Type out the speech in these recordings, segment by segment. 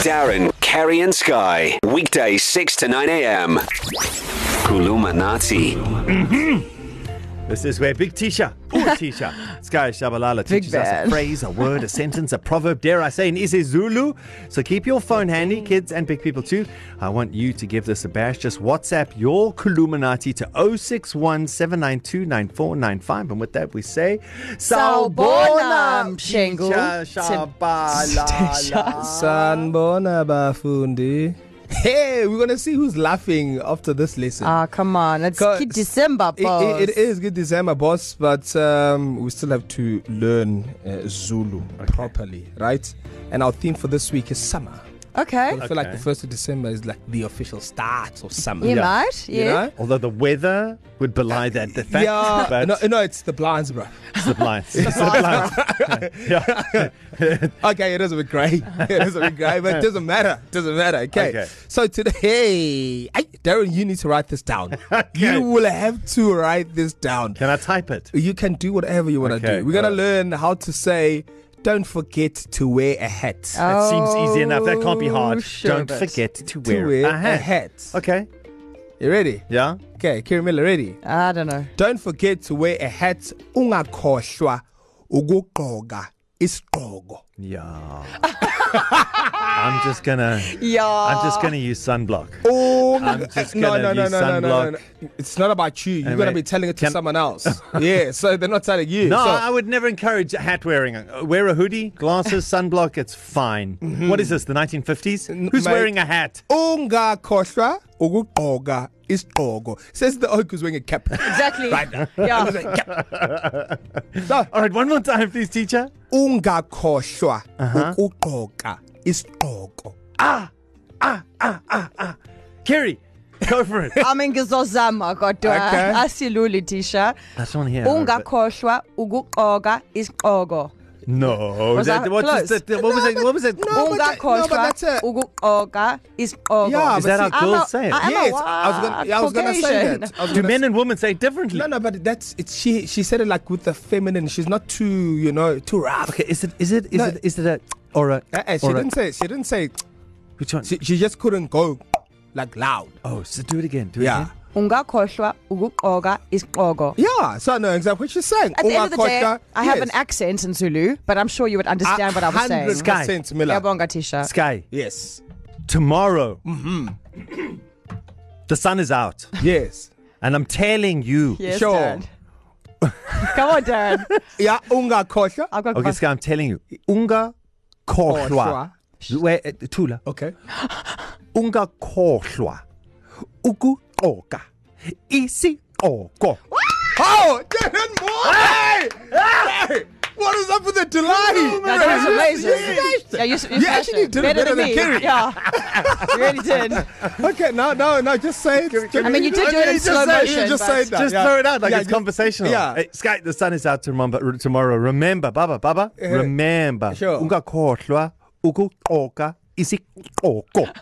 Darren, Kerry, and Sky. Weekdays 6 to 9 a.m. Kulumanati. This is where Big Tisha, poor Tisha, Sky Shabalala Big teaches us a man. phrase, a word, a sentence, a proverb, dare I say, an isiZulu. So keep your phone handy, kids and big people too. I want you to give this a bash. Just WhatsApp your Kuluminati to 061 792 9495. And with that, we say, Sawubona, Mshengu. Tisha Shabalala. Sanbona bafundi. Hey, we're gonna see who's laughing after this lesson. Ah, come on. It's Co- good December, It- boss. it, it is good December, boss, but um, we still have to learn uh, Zulu okay. properly, right? And our theme for this week is summer. Okay. I feel like Okay. the first of December is like the official start of summer. You Yeah. might. You Yeah. know? Although the weather would belie that, the fact, Yeah, but no, no, it's the blinds, bro. it's the blinds. It's the blinds. Okay, it is a bit grey. it is a bit grey, but it doesn't matter. It doesn't matter. Okay. Okay. okay. So today, hey, hey, Darren, you need to write this down. okay. You will have to write this down. Can I type it? You can do whatever you want to Okay, okay. do. We're going to alright. learn how to say, don't forget to wear a hat. Oh, That seems easy enough. That can't be hard. sure, Don't but- forget to to wear, wear a hat. a hat. Okay. Okay. You ready? Yeah. Okay, Kiri Miller, ready? I don't know. Don't forget to wear a hat. Ungakhohlwa ukugqoka isigqoko. Yeah. I'm just gonna. Yeah. I'm just gonna use sunblock. Oh, I'm just gonna use sunblock. It's not about you. You're Hey, gonna mate, be telling it to can- someone else. yeah, so they're not telling you. No, so, so, I would never encourage hat wearing. Uh, Wear a hoodie, glasses, sunblock. It's fine. Mm-hmm. What is this? The 1950s? Who's mate. wearing a hat? ungakhohlwa ukugqoka isigqoko. Says the oak who's wearing a cap. Exactly. right now. Yeah. So, All right, one more time, please, teacher. ungakhohlwa Uh-huh. ukugqoka isigqoko. Kerry, go for it. I'm in ngizozama kodwa Okay. asiluli tisha. That's one here. Ungakhohlwa ukugqoka isiqhoko. No. Was that, that what, is close? that, what was No, it? What was it? no, but that- no, but Ungakhohlwa that's a- ukugqoka isiqhoko. Yeah, Is that but how see- girls say it? I- I'm a yes, I was gonna, yeah, I was gonna say Caucasian. that. I was Do gonna men and women say it differently? No, no, but that's it's she. She said it like with the feminine. She's not too, you know, too rough. Okay, is it is it is No. it is it a or a Uh-uh, she or didn't say. She didn't say. a, which one? She, she just couldn't go like loud. oh, so do it again. Do it Yeah. again. Ungakhohlwa ukugqoka isiqhoko. Yeah, so I know exactly what she's saying. At the end of the day, Ungakhohlwa- I have yes. an accent in Zulu, but I'm sure you would understand what I was saying. 100% Miller. Yabonga Tisha. Sky Yes. tomorrow. Mm-hmm. the sun is out, Yes. and I'm telling you. Yes, Sure. Darren. Come on, Darren. Yeah, ungakhohlwa. I've got Okay, Sky, I'm telling you. Unga kohlwa. Kohlwa. Where uh, Tula? Okay. Unga kohlwa. Ugu oka. Isi oko. Oh, Darren Moore! Ah! Hey! Hey! What is up with the delay? No, that was amazing. Yes. Yeah, you, s- you You smashed actually it. did it better than me. Kerry. Yeah, you really did. Okay, no, no, no, just say it. I mean, you did do it in just slow say motion, It, but- just say that. Just yeah. throw it out like yeah, it's just- conversational. Yeah. Hey, Sky, the sun is out tomorrow. tomorrow. Remember, Baba, Baba, remember. sure. Ungakhohlwa ukuqoka isiqoko.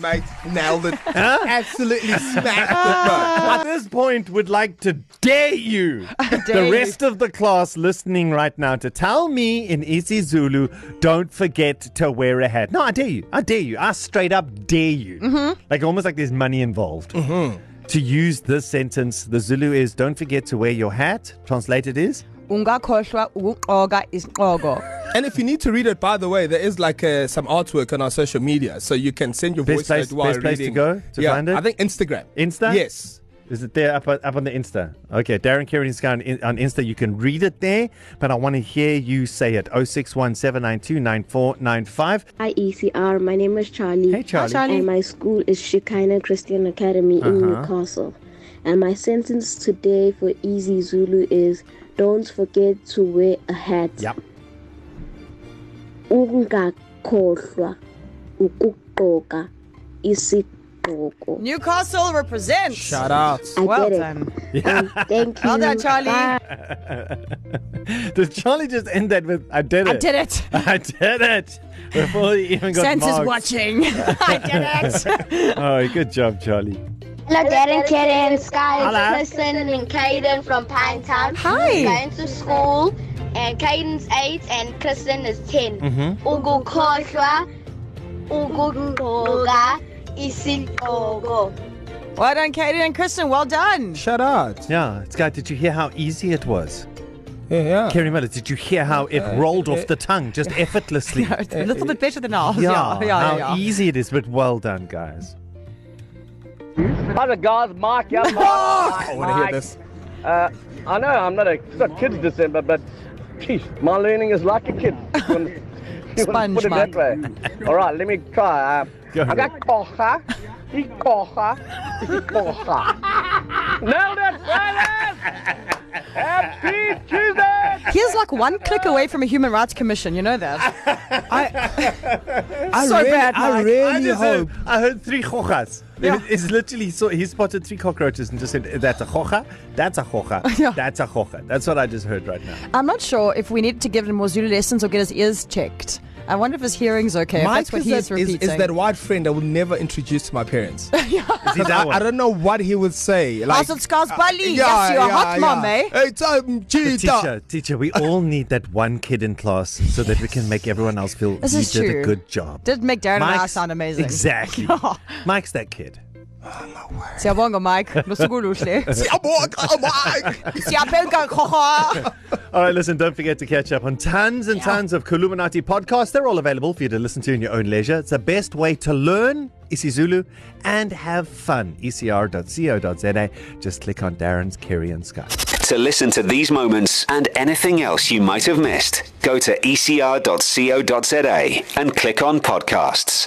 Mate, nailed it. Absolutely smashed it, bro. At this point, would like to dare you, dare the you. rest of the class isiZulu right now, to tell me in isiZulu, don't forget to wear a hat. No, I dare you. I dare you. I straight up dare you. Mm-hmm. Like almost like there's money involved. Mm-hmm. To use this sentence, the Zulu is don't forget to wear your hat. Translated is Ungakhohlwa ukugqoka isiqhoko. And if you need to read it, by the way, there is like uh, some artwork on our social media, so you can send your Best voice place- note while best place to reading. go to yeah, find it? I think Instagram. Insta? Yes. Is it there up, up on the Insta? Okay, Darren Kerry is on, on Insta. You can read it there, but I want to hear you say it. 061 792 9495. Hi ECR, my name is Charlie. Hey, Charlie. Uh-huh. Hi, Charlie. And my school is Shekinah Christian Academy in Newcastle. And my sentence today for Easy Zulu is don't forget to wear a hat. Yep. Ungakhohlwa ukugqoka isigqoko. Newcastle represents. Shout out. I Well get it. done. Um, thank you. Well done, Charlie. Bye. Did Charlie just end that with, I did it? I did it. I did it before he even got Sense is marked. watching. I did it. Oh, good job, Charlie. Hello, Darren, Kerry, and Sky. Hello. It's Kristen and Caden from Pinetown. Hi. Going to school, and Caden's eight, and Kristen is 10 Mm-hmm. Ugo Koshwa, Ugungoga isingogo. Well done, Kaden and Kristen. Well done. Shout out. Yeah, Sky, did you hear how easy it was? Yeah, yeah. Kerry Miller, did you hear how it rolled off the tongue just effortlessly? yeah, It's a little bit better than ours. yeah, e- how yeah. yeah. easy it is, but well done, guys. Hi there, guys. Mark, yeah, Mark. Mark. I want to hear this. Uh, I know I'm not a it's not kids December, but geez, my learning is like a kid. You wanna- you Sponge, wanna put it that Mark. way. All right, let me try. Uh, Go I got ahead. koha, i koha, i koha. Nailed it, Silas! Happy Tuesday! He's like one click away from a human rights commission. You know that. I So really, bad, I Mike. I really just hope. heard, I heard three chochas. Yeah. It's literally so he spotted three cockroaches and just said, "That's a chocha, that's a chocha, Yeah. that's a chocha." That's what I just heard right now. I'm not sure if we need to give him more Zulu lessons or get his ears checked. I wonder if his hearing's okay. if Mike that's what is, he's that, is, repeating. is that white friend I will never introduce to my parents. Is he that I, I one? don't know what he would say. Like, so it's Scouse Bali. Yes, you are hot mom, eh? Hey, time, cheetah. Teacher, teacher, we all need that one kid in class so that we can make everyone else feel This you is did a true. good job. Did make Darren and I Mike's- sound amazing. Exactly. Mike's that kid. Siyabonga, Mike. Nosugulu hle. Siyabonga, khoha. All right, listen, don't forget to catch up on tons and tons of Kuluminati podcasts. They're all available for you to listen to in your own leisure. It's the best way to learn isiZulu and have fun. E ecr.co.za. Just click on Darren's Kerry and Sky. To listen to these moments and anything else you E might have missed, go to ecr.co.za and click on podcasts.